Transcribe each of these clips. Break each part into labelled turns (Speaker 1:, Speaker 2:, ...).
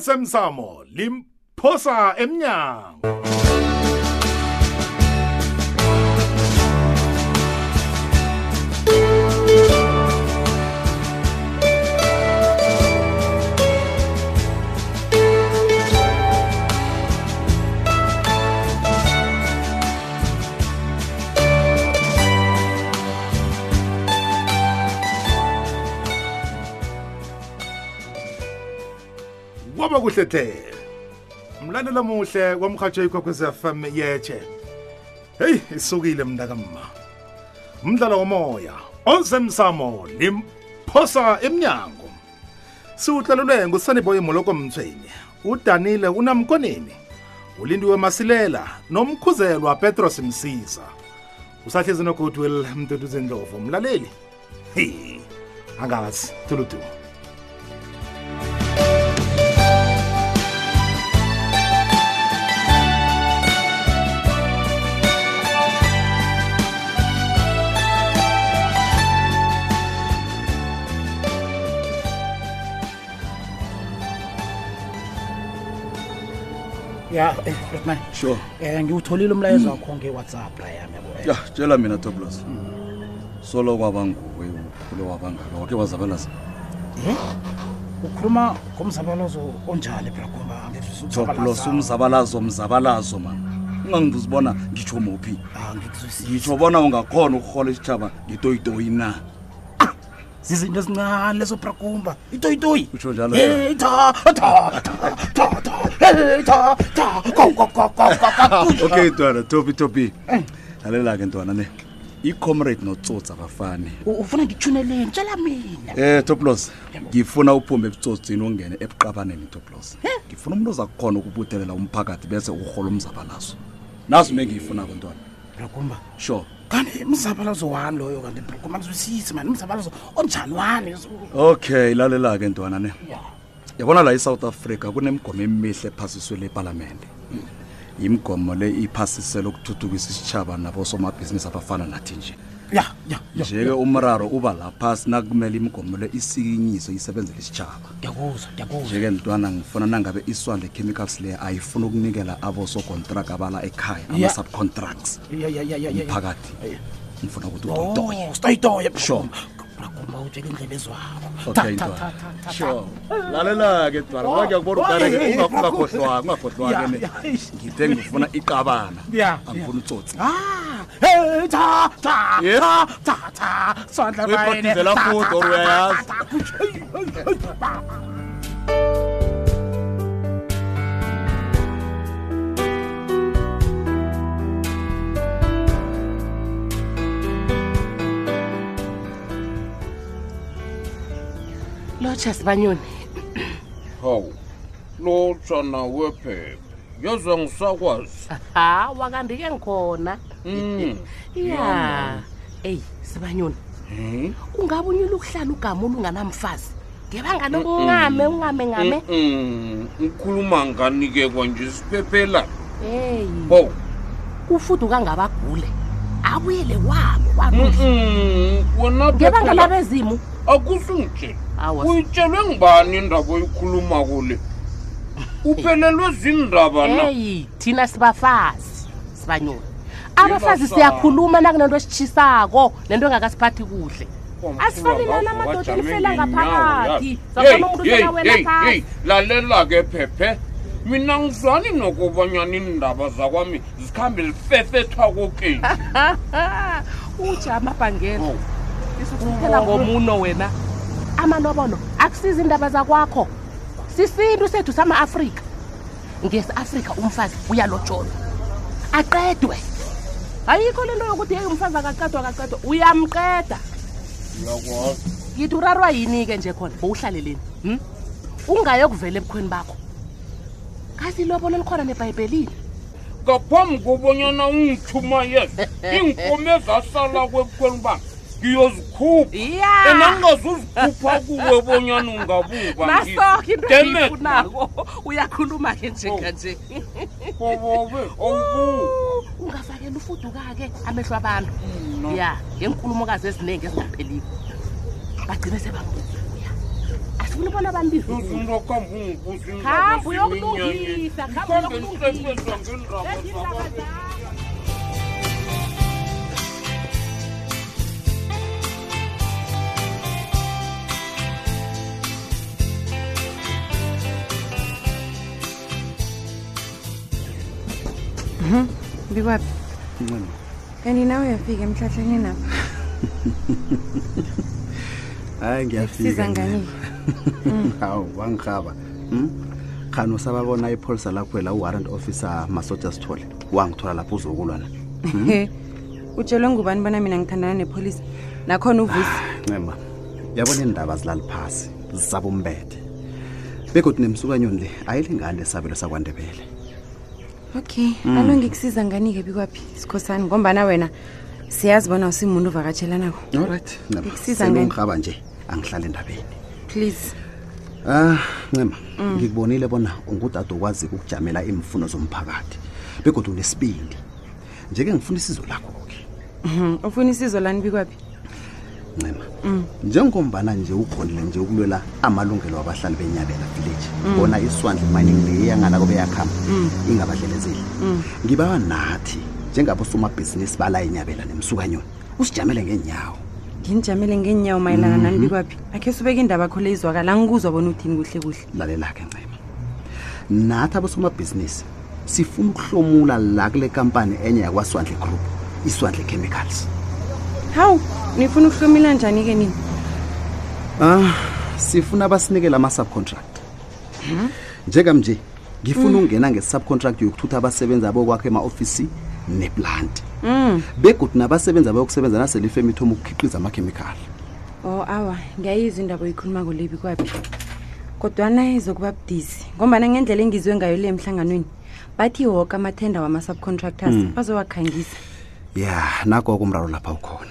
Speaker 1: osemsamo limphosa emnyango kwaba kuhle hle mlandela muhle kwamhatsho ikhokhwez fm yetshe heyi isukile mntakamma umdlalo womoya osemsamo limphosa emnyango siwuhlalelwe ngusaniboye moloko mthweni udanile unamkoneni ulindiwe masilela nomkhuzelwa petros msiza usahlezi nogoodwill mduduzi ndlovu mlaleli heyi angazi tuludumu
Speaker 2: ya eh, Batman
Speaker 3: sure
Speaker 2: um ngiwutholile umlayezo wakho nge-whatsapp la yami yabo eh.
Speaker 3: ya tshela mina toblos solo kwaba nguwe ukhule wabangaka wake wazabalaza
Speaker 2: Eh? ukhuluma ngomzabalazo onjani brakomba
Speaker 3: toblos umzabalazo mzabalazo mani ungangibuzi bona ngitsho muphi ngitsho bona ungakhona ukuhola isitshaba ngitoyitoyi na
Speaker 2: zizinto ezincane lezo brakomba itoyitoyi
Speaker 3: Utsho njalo,
Speaker 2: Eh, ta, ta, ta, ta, ta, eh, ta, ta, go, go, go, go, go, go.
Speaker 3: okay ntwana topi topi lalela ke ntwana ne icomrade notsotsi abafane
Speaker 2: U- ufuna ngikuthuneleni tshela mina
Speaker 3: um toplos ngifuna uphume ebutsotsini ungene ebuqabaneni toplos ngifuna umuntu ozakukhona ukubuthelela umphakathi bese urhola umzabalazo nazi ume ngiyifunako ntwana
Speaker 2: brakomba
Speaker 3: sure
Speaker 2: kanti mzabalazo wani loyo kanti brakomba ngizwisisi mani mzabalazo onjani wani
Speaker 3: okay lalela ke ntwana ne
Speaker 2: Ya.
Speaker 3: yabona la e-south africa kunemigomo emihle ephasiswe lepalamente yimigomo le iphasisele ukuthuthukisa isitshaba nabosomabhizinisi abafana nathi nje
Speaker 2: ya ya ya
Speaker 3: nje-ke umraro uba laphasi nakumele imigomo le isikinyiswe isebenzele isitshaba
Speaker 2: ngiyakuzwa ngiyakuzwa
Speaker 3: nje-ke ntwana ngifuna nangabe iswandle chemicals leyo ayifuni ukunikela abosocontract abala ekhaya
Speaker 2: Ya.
Speaker 3: ama-subcontracts
Speaker 2: Ya, ya, ya, ya, ya, ya.
Speaker 3: umphakathi ngifuna ukuthi utoyitoye
Speaker 2: Oh, stoyitoye
Speaker 3: Sure.
Speaker 2: brakomba utshela indlebe ezwakho Ta,
Speaker 3: okay
Speaker 2: ta,
Speaker 3: ntwana
Speaker 2: ta, ta, ta.
Speaker 3: sure lalela-ke ntwana ngoba ngiyakubona ukareke
Speaker 2: Oh, eh, eh,
Speaker 3: ungakhohlwa ungakhohlwa-ke ne
Speaker 2: Yeah, yeah.
Speaker 3: ngithe ngifuna iqabana
Speaker 2: Yeah,
Speaker 3: angifuna utsotsi
Speaker 2: Ah, hey, ta, ta,
Speaker 3: Yeah.
Speaker 2: ta, ta, ta. Swandla
Speaker 3: Uyibhotizela
Speaker 2: bayine. Ta, ta,
Speaker 3: futhi, or
Speaker 2: ta, ta,
Speaker 3: uyayazi.
Speaker 2: ta, ta. Hey, hey, hey, ba, ba.
Speaker 4: lotsha sibanyoni
Speaker 5: hawu lotsha nawe phepha yeza ngisakwazi
Speaker 4: Ah,
Speaker 2: Ah,
Speaker 4: hawa kanti-ke ngikhona
Speaker 5: Mm.
Speaker 4: ya eyi sibanyoni
Speaker 5: Eh?
Speaker 4: ungabe unyula ukuhlala ugama olunganamfazi
Speaker 5: Eh,
Speaker 4: ngebanga lokungame ungame ngame
Speaker 5: Mm, ukhuluma ngani-ke kwanje siphephela Eh.
Speaker 4: eyi
Speaker 5: hawu
Speaker 4: kufuduka ngabagule abuyele kwabo kwamuhle
Speaker 5: Mm, wena
Speaker 4: ngebanga
Speaker 5: phela
Speaker 4: labezimu
Speaker 5: akusungitshela
Speaker 4: Awa.
Speaker 5: uyitshelwe ngubani indaba oyikhulumako le uphelelwe zindaba na
Speaker 4: eyi thina sibafazi sibanyoni abafazi
Speaker 5: Sibafazi.
Speaker 4: siyakhuluma nakunento esitshisako nento engakasiphathi kuhle
Speaker 5: Kwamthula
Speaker 4: asifanelana
Speaker 5: lapho,
Speaker 4: amadoda
Speaker 5: wajame
Speaker 4: elifela
Speaker 5: ngeenyawo
Speaker 4: ngaphakathi
Speaker 5: yazi. Hey,
Speaker 4: sazana umuntu
Speaker 5: hey,
Speaker 4: usonawela
Speaker 5: hey, hey,
Speaker 4: phasi
Speaker 5: lalela-ke phephe mina ngizwani nokubanyana indaba zakwami zikhambe lifefethwako keni
Speaker 4: Ah, utsha amabhangela
Speaker 5: Hawu.
Speaker 4: isukuphela ngomuno wena amanobono akusiza iindaba zakwakho sisintu sethu sama-afrika ngesi-afrika umfazi uyalotsholwa aqedwe ayikho le nto yokuthi yeyi umfazi akaqedwa akaqedwa uyamqeda
Speaker 5: Uyakwazi.
Speaker 4: ngithi urarwa yini-ke nje khona bowuhlaleleni um ungayokuvela ebukhweni bakho kazi ilobolo likhona nebhayibhelini
Speaker 5: ngaphambi kobonyana ungithumayeza iinkomo ezasala kwebukhweni bami ngiyozikhupha
Speaker 4: ya
Speaker 5: enangazozikhupha kuwe bonyana ungabuba
Speaker 4: nasoke into
Speaker 5: Damn it,
Speaker 4: engiyifunako uyakhuluma-ke njenganje
Speaker 5: Bobobe, awububi.
Speaker 4: ungafakela ufuduka-ke amehlo abantu ya ngeenkulumokazi eziningi ezingapheliko bagcine sebambuya angifuni ubona bambizwe
Speaker 5: uzindokhamba ungibuza
Speaker 4: Khamba uyokulungisa, khamba
Speaker 5: ikhambe
Speaker 4: uyokulungisa.
Speaker 5: nihlebezwa ngendaba zabantu.
Speaker 6: bikwaphi
Speaker 7: ncema
Speaker 6: kanti nawe uyafika emhlahleni napha
Speaker 7: hayi
Speaker 6: siza ngani
Speaker 7: hawu wangihaba
Speaker 3: Hmm?
Speaker 7: um khani usababona ipholisa lakho la uwarrant officer masoja sithole wangithola lapho uzokulwana
Speaker 6: utshelwe ngubani bona mina ngithandana nepholisa nakhona uvusi
Speaker 7: ncema yabona indaba zilali phasi zisaba umbethe begodwa nemsukanyoni le ayilingani lesabelo sakwandebele
Speaker 6: okay alo ngikusiza ngani-ke bikwaphi sikhosani ngombana wena siyazi bona usimuntu ovakatshelanako
Speaker 7: allright ncema
Speaker 6: Ngikusiza
Speaker 7: selongihaba nje angihlali endabeni
Speaker 6: please
Speaker 7: ah ncema ngikubonile bona ungudade okwazi ukujamela imfuno zomphakathi begodwa unesibindi njeke ngifuna isizo lakho-ke
Speaker 6: Mhm, ufuna isizo lani bikwaphi
Speaker 7: ncema njengombana nje ukhonile nje ukulwela amalungelo wabahlali benyabela village bona iswandle mining leyangalako beyakhamba ingabadlelezeli ngibawa nathi njengabosomabhizinisi bala inyabela nemsukanyoni usijamele ngeenyawo
Speaker 6: nginijamele ngeenyawo mayelana nani bikwaphi akhe subeka indaba kho le izwakala angikuzwa bona uthini kuhle kuhle
Speaker 7: lalela-ke ncema nathi abosomabhizinisi sifuna ukuhlomula la kule kampani enye yakwaswandle group iswandle chemicals
Speaker 6: hawu nifuna ukuhlomila njani-ke nini
Speaker 7: Ah, sifuna abasinikele ama-subcontract njengamnje
Speaker 6: Mm.
Speaker 7: ngifuna ukungena nge-subcontract yokuthutha abasebenzi abokwakho ema-ofisi neplant
Speaker 6: Mm.
Speaker 7: begodi nabasebenzi abayokusebenza naselifemi ithoma ukukhiqiza amakhemikhali
Speaker 6: o Oh, awa ngiyayizwa indaba oyikhulumako lebi kwaphi kodwana izokuba budisi ngombana ngendlela engizwe ngayo le emhlanganweni bathi woke amathenda wama-subcontractors
Speaker 7: Hmm.
Speaker 6: bazowakhangisa
Speaker 7: ya nakoko umraro lapha ukhona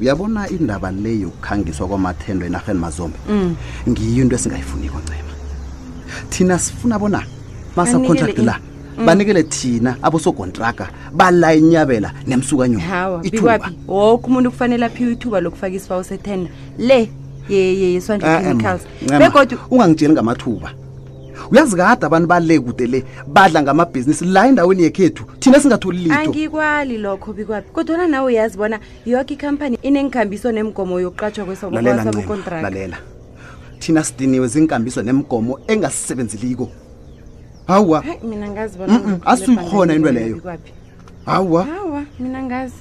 Speaker 7: uyabona indaba le yokukhangiswa kwamathendo enarheni mazombe
Speaker 6: Mm.
Speaker 7: ngiyo into esingayifuniko ncema thina sifuna bona ma-subcontract
Speaker 6: Banikele Mm.
Speaker 7: la banikele thina abosokontraka bala inyabela nemsukanyoni
Speaker 6: hawa bikwaphi woke umuntu kufanele aphiwe ithuba lokufaka isibawo sethenda le ye- ye- yeswandle
Speaker 7: Eh, eh,
Speaker 6: chemicals
Speaker 7: Ncema,
Speaker 6: begodu
Speaker 7: ungangitsheli ngamathuba uyazi kade abantu bale kude le badla ngamabhizinisi la endaweni yekhethu thina singatholi lito
Speaker 6: angikwali lokho bikwaphi kodwana nawe uyazi bona yoke ikhampani inengikhambiso nemgomo yokuqatshwa
Speaker 7: lalela Ncema,
Speaker 6: kwesabokontrakt
Speaker 7: lalela thina sidiniwe zinkambiso nemigomo engasisebenziliko hawa
Speaker 6: mina ngazi
Speaker 7: Mm-mm, asiyikghona into leyo.
Speaker 6: Bikwaphi.
Speaker 7: hawa
Speaker 6: hawa mina ngazi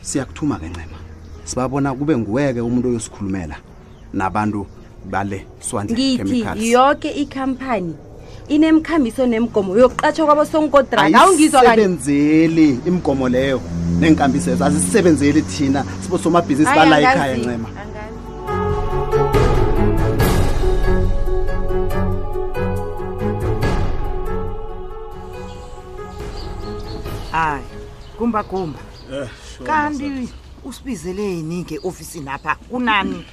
Speaker 7: siyakuthuma-ke ncema sibabona kube nguweke umuntu oyosikhulumela nabantu bale swandle
Speaker 6: ngithi
Speaker 7: chemicals
Speaker 6: yoke ikhampani inemkhambiso nemgomo yokuqatshwa kwabosonkodraka awungizwa kani
Speaker 7: ayisebenzeli imigomo leyo neenkambiso ezo azisebenzeli thina sibosomabhizinisi bala
Speaker 6: Hayi,
Speaker 7: ekhaya
Speaker 6: angazi,
Speaker 7: ncema
Speaker 6: angazi.
Speaker 8: hayi kumba kumba kanti usibizeleni-ke ofisini apha kunani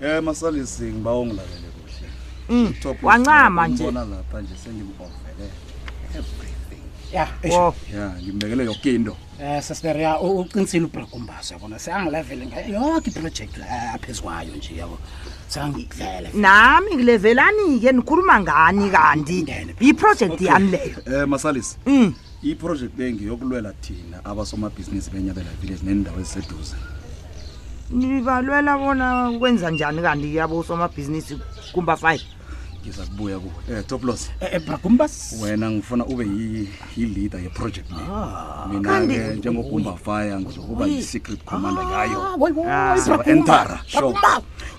Speaker 7: Eh masalisi ngibawa ungilalele kuhle. Top left
Speaker 8: wancama
Speaker 7: lapha,
Speaker 8: nje.
Speaker 7: ngibona lapha nje sengimofele. Everything.
Speaker 2: ya
Speaker 8: o
Speaker 7: Ya, ngimbekele yonke into.
Speaker 2: um sesitere ya u- uqinisile ubrakumbaso yabona seyangilevele ngayo yonke iprojekthi aphezu kwayo nje yabo seyangidlele
Speaker 8: nami ngilevelani-ke nikhuluma ngani kanti yiprojekthi yami leyo
Speaker 7: Eh masalisi.
Speaker 8: Mm.
Speaker 7: iproject le ngiyokulwela thina abasomabhizinisi benyabela village nendawo eziseduze
Speaker 8: nibalwela bona kwenza njani kanti yabo somabhizinisi kumba five
Speaker 7: ngiza kubuya ku eh toplos
Speaker 2: brakumbas
Speaker 7: wena ngifuna ube yi- yi-leader yeproject le mina-ke
Speaker 8: kanti-
Speaker 7: njengokumba fire ngizokuba yi-secret commander ngayo
Speaker 8: Ah,
Speaker 7: entara, sure.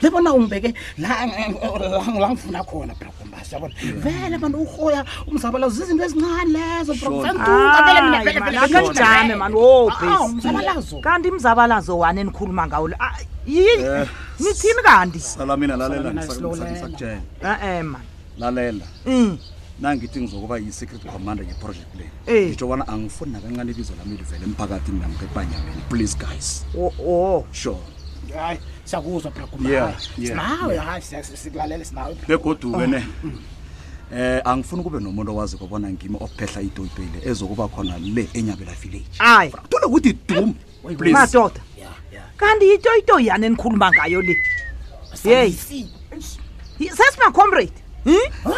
Speaker 2: lebona umbeke la la- la ngifuna khona brakumbas yabona vele bantu urhoya umzabalazo zizinto ezincane lezo
Speaker 7: Sure.
Speaker 8: Hayi, man, akanijame mani
Speaker 4: Oh,
Speaker 8: wo
Speaker 2: Ah, umzabalazo
Speaker 8: kanti imzabalazo wani enikhuluma ngawo lo Ah,
Speaker 7: Eh.
Speaker 8: yini nithini kanti Eh,
Speaker 7: salamina lalela
Speaker 2: Salamina, silolena.
Speaker 7: ngisakutshela
Speaker 8: e-e mani
Speaker 7: lalela
Speaker 8: Mm.
Speaker 7: nangithi ngizokuba yi-secret commander ngeproject le
Speaker 8: Eh.
Speaker 7: ngitsho bona angifuni nakancane ibizo lami livele emphakathini namka ebanyameni please guys
Speaker 8: o o
Speaker 7: sure
Speaker 2: hayi siyakuzwa
Speaker 7: Yeah,
Speaker 2: brakumba
Speaker 7: yeah,
Speaker 2: sinawe hayi siya- sikulalele sinawe
Speaker 7: begoduke ne eh angifuni kube nomuntu owazi kobona ngimi ophehla idoyipele ezokuba khona le enyabela village
Speaker 8: ayi
Speaker 7: tule kuthi dum please
Speaker 8: madoda kanti yitoyitoyi yani enikhuluma ngayo le yeyi sesima-comrade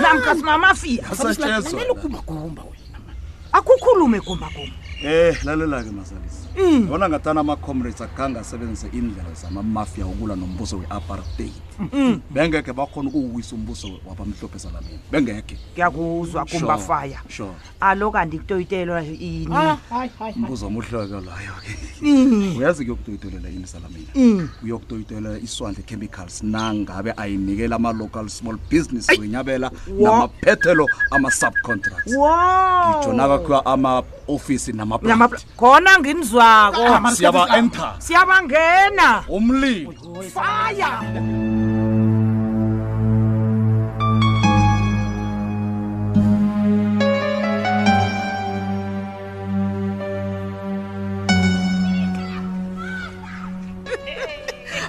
Speaker 8: namka simamafiya
Speaker 2: Ah, Lalela ugumagumba wena
Speaker 8: akukhulume gumbagumba
Speaker 3: Eh lalela-ke mazalisi
Speaker 8: Mm.
Speaker 3: yona ngatana ama-comrades akhange asebenzise indlela zamamafia ukulwa nombuso we-apartheid
Speaker 8: Mm.
Speaker 3: bengekhe bakhona ukuwisa umbuso wabamhlophe salamini bengekhe
Speaker 8: ngiyakuzwa gumbafaya
Speaker 3: sure
Speaker 8: alo kanti kutoyitelwa ini
Speaker 2: hayi hayi
Speaker 3: umbuzo omuhloko layo ke
Speaker 8: Mm.
Speaker 3: uyazi kuyokutoyitolela ini salamina uyokutoyitolela iswandle chemicals nangabe ayinikela ama-local small business wenyabela namaphethelo ama-subcontracts
Speaker 8: wo
Speaker 3: ngitsho nakakhiwa ama-ofisi namaplant
Speaker 8: Namapla- khona nginizwako
Speaker 3: siyaba-enter
Speaker 8: siyabangena
Speaker 3: umlilo
Speaker 8: faya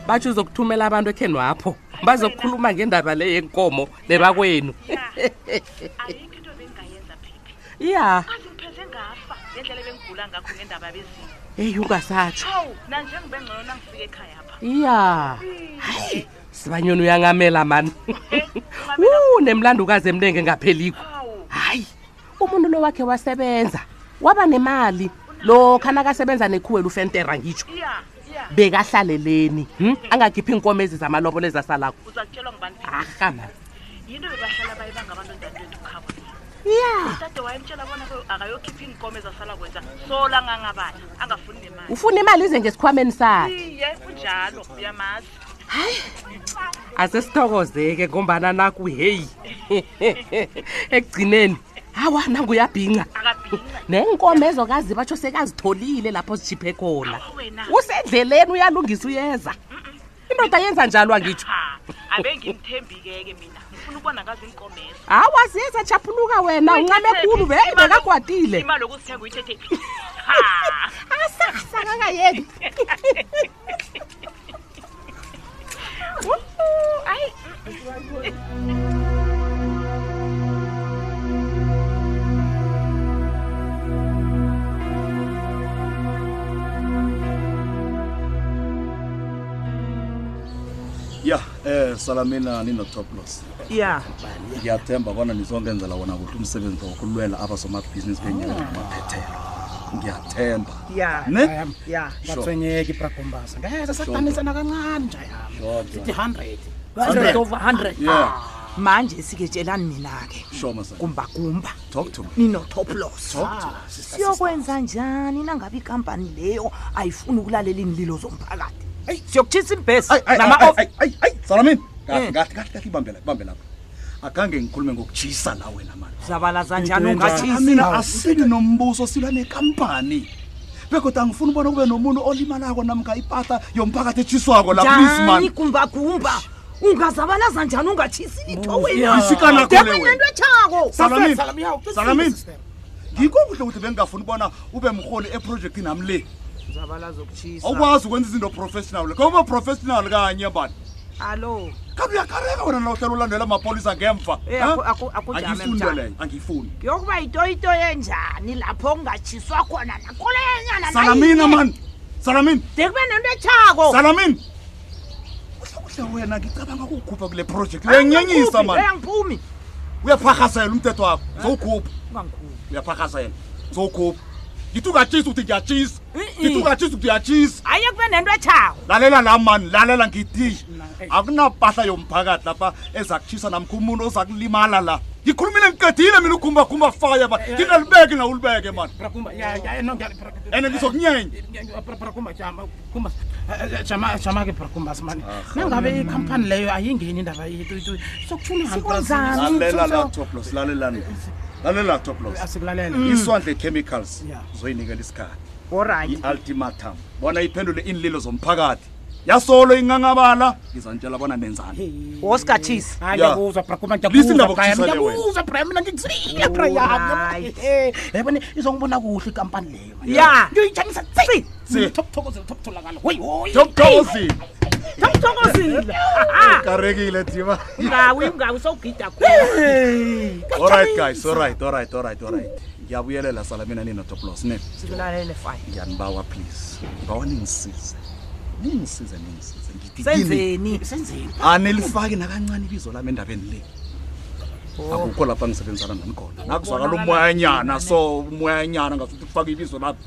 Speaker 4: batsho uzokuthumela abantu ekheni wapho bazokukhuluma ngendaba le yenkomo nebakwenu
Speaker 9: ayikho into bengingayenza phiphi
Speaker 4: ya
Speaker 9: kanti ngiphethe ngafa ngendlela ebengigula ngakho ngendaba bezimo
Speaker 4: eyi ungasatsho
Speaker 9: hawu nanjengibe ngcono nangifika ekhaya apha
Speaker 4: ya hayi sibanyoni uyangamela mani
Speaker 9: ungamela-
Speaker 4: wu nemlandukazi emlenge ngapheliko
Speaker 9: hawu
Speaker 4: hayi umuntu lo wakhe wasebenza waba nemali lokha nakasebenza nekhuwela ufentera ngitsho
Speaker 9: iya iya
Speaker 4: bekahlaleleni hm? angakhiphi iinkomo ezi zamalobolo ezasalako
Speaker 9: uzakutshelwa ngubani phela
Speaker 4: arha mani
Speaker 9: yinto bebahlala bayibanga abantu endadewethu ukhaba
Speaker 4: ya
Speaker 9: udade wayemtshela bona ke akayokhipha iinkomo ezasala kwenza sola ngangabala angafuni nemali
Speaker 4: ufuna imali ize ngesikhwameni sakhe
Speaker 9: iye kunjalo uyamazi
Speaker 4: asesithokozeke ngombana naku heyi ekugcineni hawa nanguyabhinca
Speaker 9: akabhinca
Speaker 4: neenkomo ezokazi batsho sekazitholile lapho zishiphe khona
Speaker 9: Awa wena.
Speaker 4: usendleleni uyalungisa uyeza indoda yenza njalo angitsho
Speaker 9: ha abe ngimthembi-ke ke mina ngifuna ukubona ngazi iinkomezo
Speaker 4: hawa ziyeza japhuluka wena uncame khulu beyi bekakwatile
Speaker 9: imali yokuzithenga uyithethe ha
Speaker 4: asakakayeni
Speaker 9: ayi
Speaker 3: ya eh salamina nino-toplos
Speaker 8: ya
Speaker 3: ngiyathemba bona nizongenzela wona kuhle umsebenzi wokulwela abazomabhizinisi benyela namaphethelo ngiyathemba
Speaker 8: ya
Speaker 2: Eh?
Speaker 3: ne
Speaker 8: ya
Speaker 2: bathwenyeke ibragumbasa ngeze sakudanisa nakancane nja yami sithi 100
Speaker 3: Hundred.
Speaker 2: 100 over 100
Speaker 3: yeah
Speaker 8: manje sike tshelani mina-ke
Speaker 3: sure masan
Speaker 8: gumbagumba
Speaker 3: talk to me
Speaker 8: ninotoplos
Speaker 3: talk to me
Speaker 8: siyokwenza njani nangabe ikampani leyo ayifuni ukulalela iinlilo zomphakathi siyokutshisa imbhesi
Speaker 3: Ay, ay,
Speaker 8: nama
Speaker 3: ay, ay, ay, ay, salamina
Speaker 8: Eh.
Speaker 3: kahle kahle kahle kahle ibambe la ibambe lapho akhange ngikhulume ngokujisa la wena mani
Speaker 8: zabalaza njani ungatshisi
Speaker 3: mina asili nombuso silwa nekampani begoda angifuni ubona kube nomuntu olimalako namka ipata yomphakathi etshiswako la please
Speaker 8: njani
Speaker 3: man
Speaker 8: gumbagumba ungazabalaza njani ungatshisi litho
Speaker 3: Oh, isikana kule wena
Speaker 8: wenanto etshako
Speaker 3: Salamini.
Speaker 2: Salamini, hawu, cisisa
Speaker 3: Salamini.
Speaker 2: sister.
Speaker 3: ngikho kuhle ukuthi bengingafuni ubona ube mrholi eprojekthini nami le
Speaker 8: zabalaza ukutshisa
Speaker 3: awukwazi ukwenza izinto professional kawuba professional kanye bani
Speaker 8: allo
Speaker 3: kanti uyakareka wena nawuhlela ulandela amapolisa ngemva
Speaker 8: Eh,
Speaker 3: ha?
Speaker 8: aku- aku- akujame
Speaker 3: Angiyifuni
Speaker 8: mtshana.
Speaker 3: into leyo angiyifuni
Speaker 8: yokuba yitoyito yenjani lapho kungatshiswa khona nakolenyana
Speaker 3: salamina mani salamini
Speaker 8: de kube nento etshako
Speaker 3: salamini kuhle kuhle Oh. wena ngicabanga ukukhupha kule project uyanyenyisa mani
Speaker 8: angiphumi
Speaker 3: uyaphahazela umthetho wakho zowukhupha
Speaker 8: ungangikhumi
Speaker 3: uyaphahazela zowukhupha ngithi ungatshisa ukuthi ngiyatshisa
Speaker 8: Mm-mm.
Speaker 3: ngithi ungatshisa ukuthi uyatshisa
Speaker 8: hayi kube nento etshako
Speaker 3: lalela la mani lalela ngithi akunapahla yomphakathi lapha eza kutshisa namkho umuntu oza kulimala la ngikhulumile ngiqedile mina ugumbakhumba faya ba ngingalibeki na ulibeke mani
Speaker 2: Bragumbasa, ya ya no
Speaker 8: Eh?
Speaker 2: ngiya
Speaker 3: and ngizokunyenya
Speaker 2: brakumba jama kumba eh, jama jama ke brakumbasa mani
Speaker 8: Ah,
Speaker 2: nangabe ikhampani leyo ayingeni indaba yethu yethu sokufuna
Speaker 8: Mm. Sikwenzani?
Speaker 3: lalela la toplos lalela ni. lalela toplos
Speaker 8: Mm.
Speaker 2: asikulalela
Speaker 3: iswandle chemicals
Speaker 2: Yeah.
Speaker 3: zoyinikela isikhathi
Speaker 8: orayi
Speaker 3: i-ultimatum bona iphendule iinlilo zomphakathi yasolo inganqabala ngizanitshela bona nenzani
Speaker 8: wosikatshisi
Speaker 2: hayi
Speaker 3: Yeah.
Speaker 2: ngiyakuzwa brakumba
Speaker 3: Listen ndaba
Speaker 2: ngiyakuzwa
Speaker 3: okuthisa le wena.
Speaker 2: ngiyakuzwa bra mina ngikuzile bra
Speaker 8: Alright.
Speaker 2: yami yabona izongibona kuhle ikhampani leyo man.
Speaker 8: Yeah.
Speaker 2: ngiyoyijamisa tsi
Speaker 3: Tsi.
Speaker 2: tokuthokozela tokutholakala hoyi hoyi
Speaker 3: yomthokozini
Speaker 8: ngithokozile
Speaker 3: Ah. karekile diba
Speaker 8: ungawi ungawi sowugida
Speaker 3: allright guys allright allright allright allright ngiyabuyelela salamina ninotoplos ne
Speaker 8: khululalele faya
Speaker 3: ngiyanibawa please ngibawa ningisize ningisize ningisize ngithi
Speaker 2: Senzeni?
Speaker 3: kini,
Speaker 2: Senzeni?
Speaker 3: anilifaki nakancane ibizo lami endabeni le akukho lapha ngisebenzisana nani khona nakuzwakala umoyanyana so umoyanyana ngasuthi kufake ibizo lapha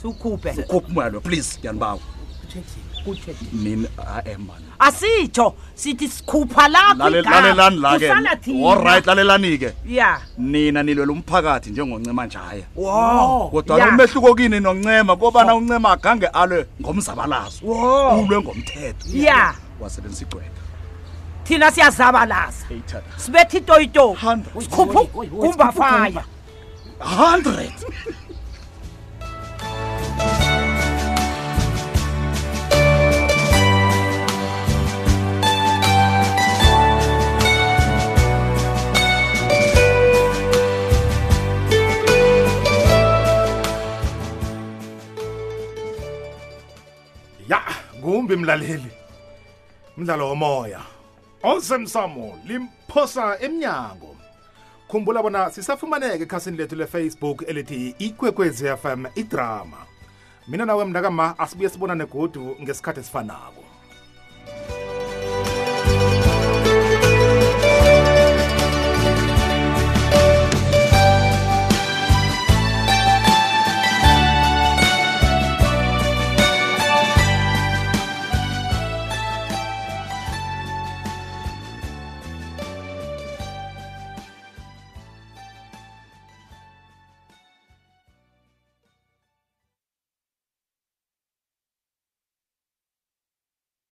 Speaker 2: siwukhuphe
Speaker 3: ukhuphe umoya lo please yanibawo nini ae mani
Speaker 2: asitsho sithi sikhupha lapho
Speaker 3: Lale-
Speaker 2: igama.
Speaker 3: lalelani
Speaker 2: Kusala
Speaker 3: la-ke
Speaker 2: thina.
Speaker 3: allright lalelani-ke
Speaker 2: ya
Speaker 3: nina nilwela umphakathi njengoncema njaya
Speaker 2: Wo.
Speaker 3: kodwana
Speaker 2: Ya.
Speaker 3: umehluko kini noncema kobana uncema agange alwe ngomzabalazo
Speaker 2: Wo.
Speaker 3: ulwe ngomthetho
Speaker 2: ya
Speaker 3: wasebenzisa igcweka
Speaker 2: thina siyazabalaza sibetha itoyito sikhupha kumbafaya
Speaker 3: hundred
Speaker 1: ya kumbi mlaleli mdlalo womoya osemsamo limphosa emnyango khumbula bona sisafumaneke ekhasini lethu lefacebook elithi ikwekwezi fm idrama mina nawe mnakama asibuye sibonane godu ngesikhathi esifanako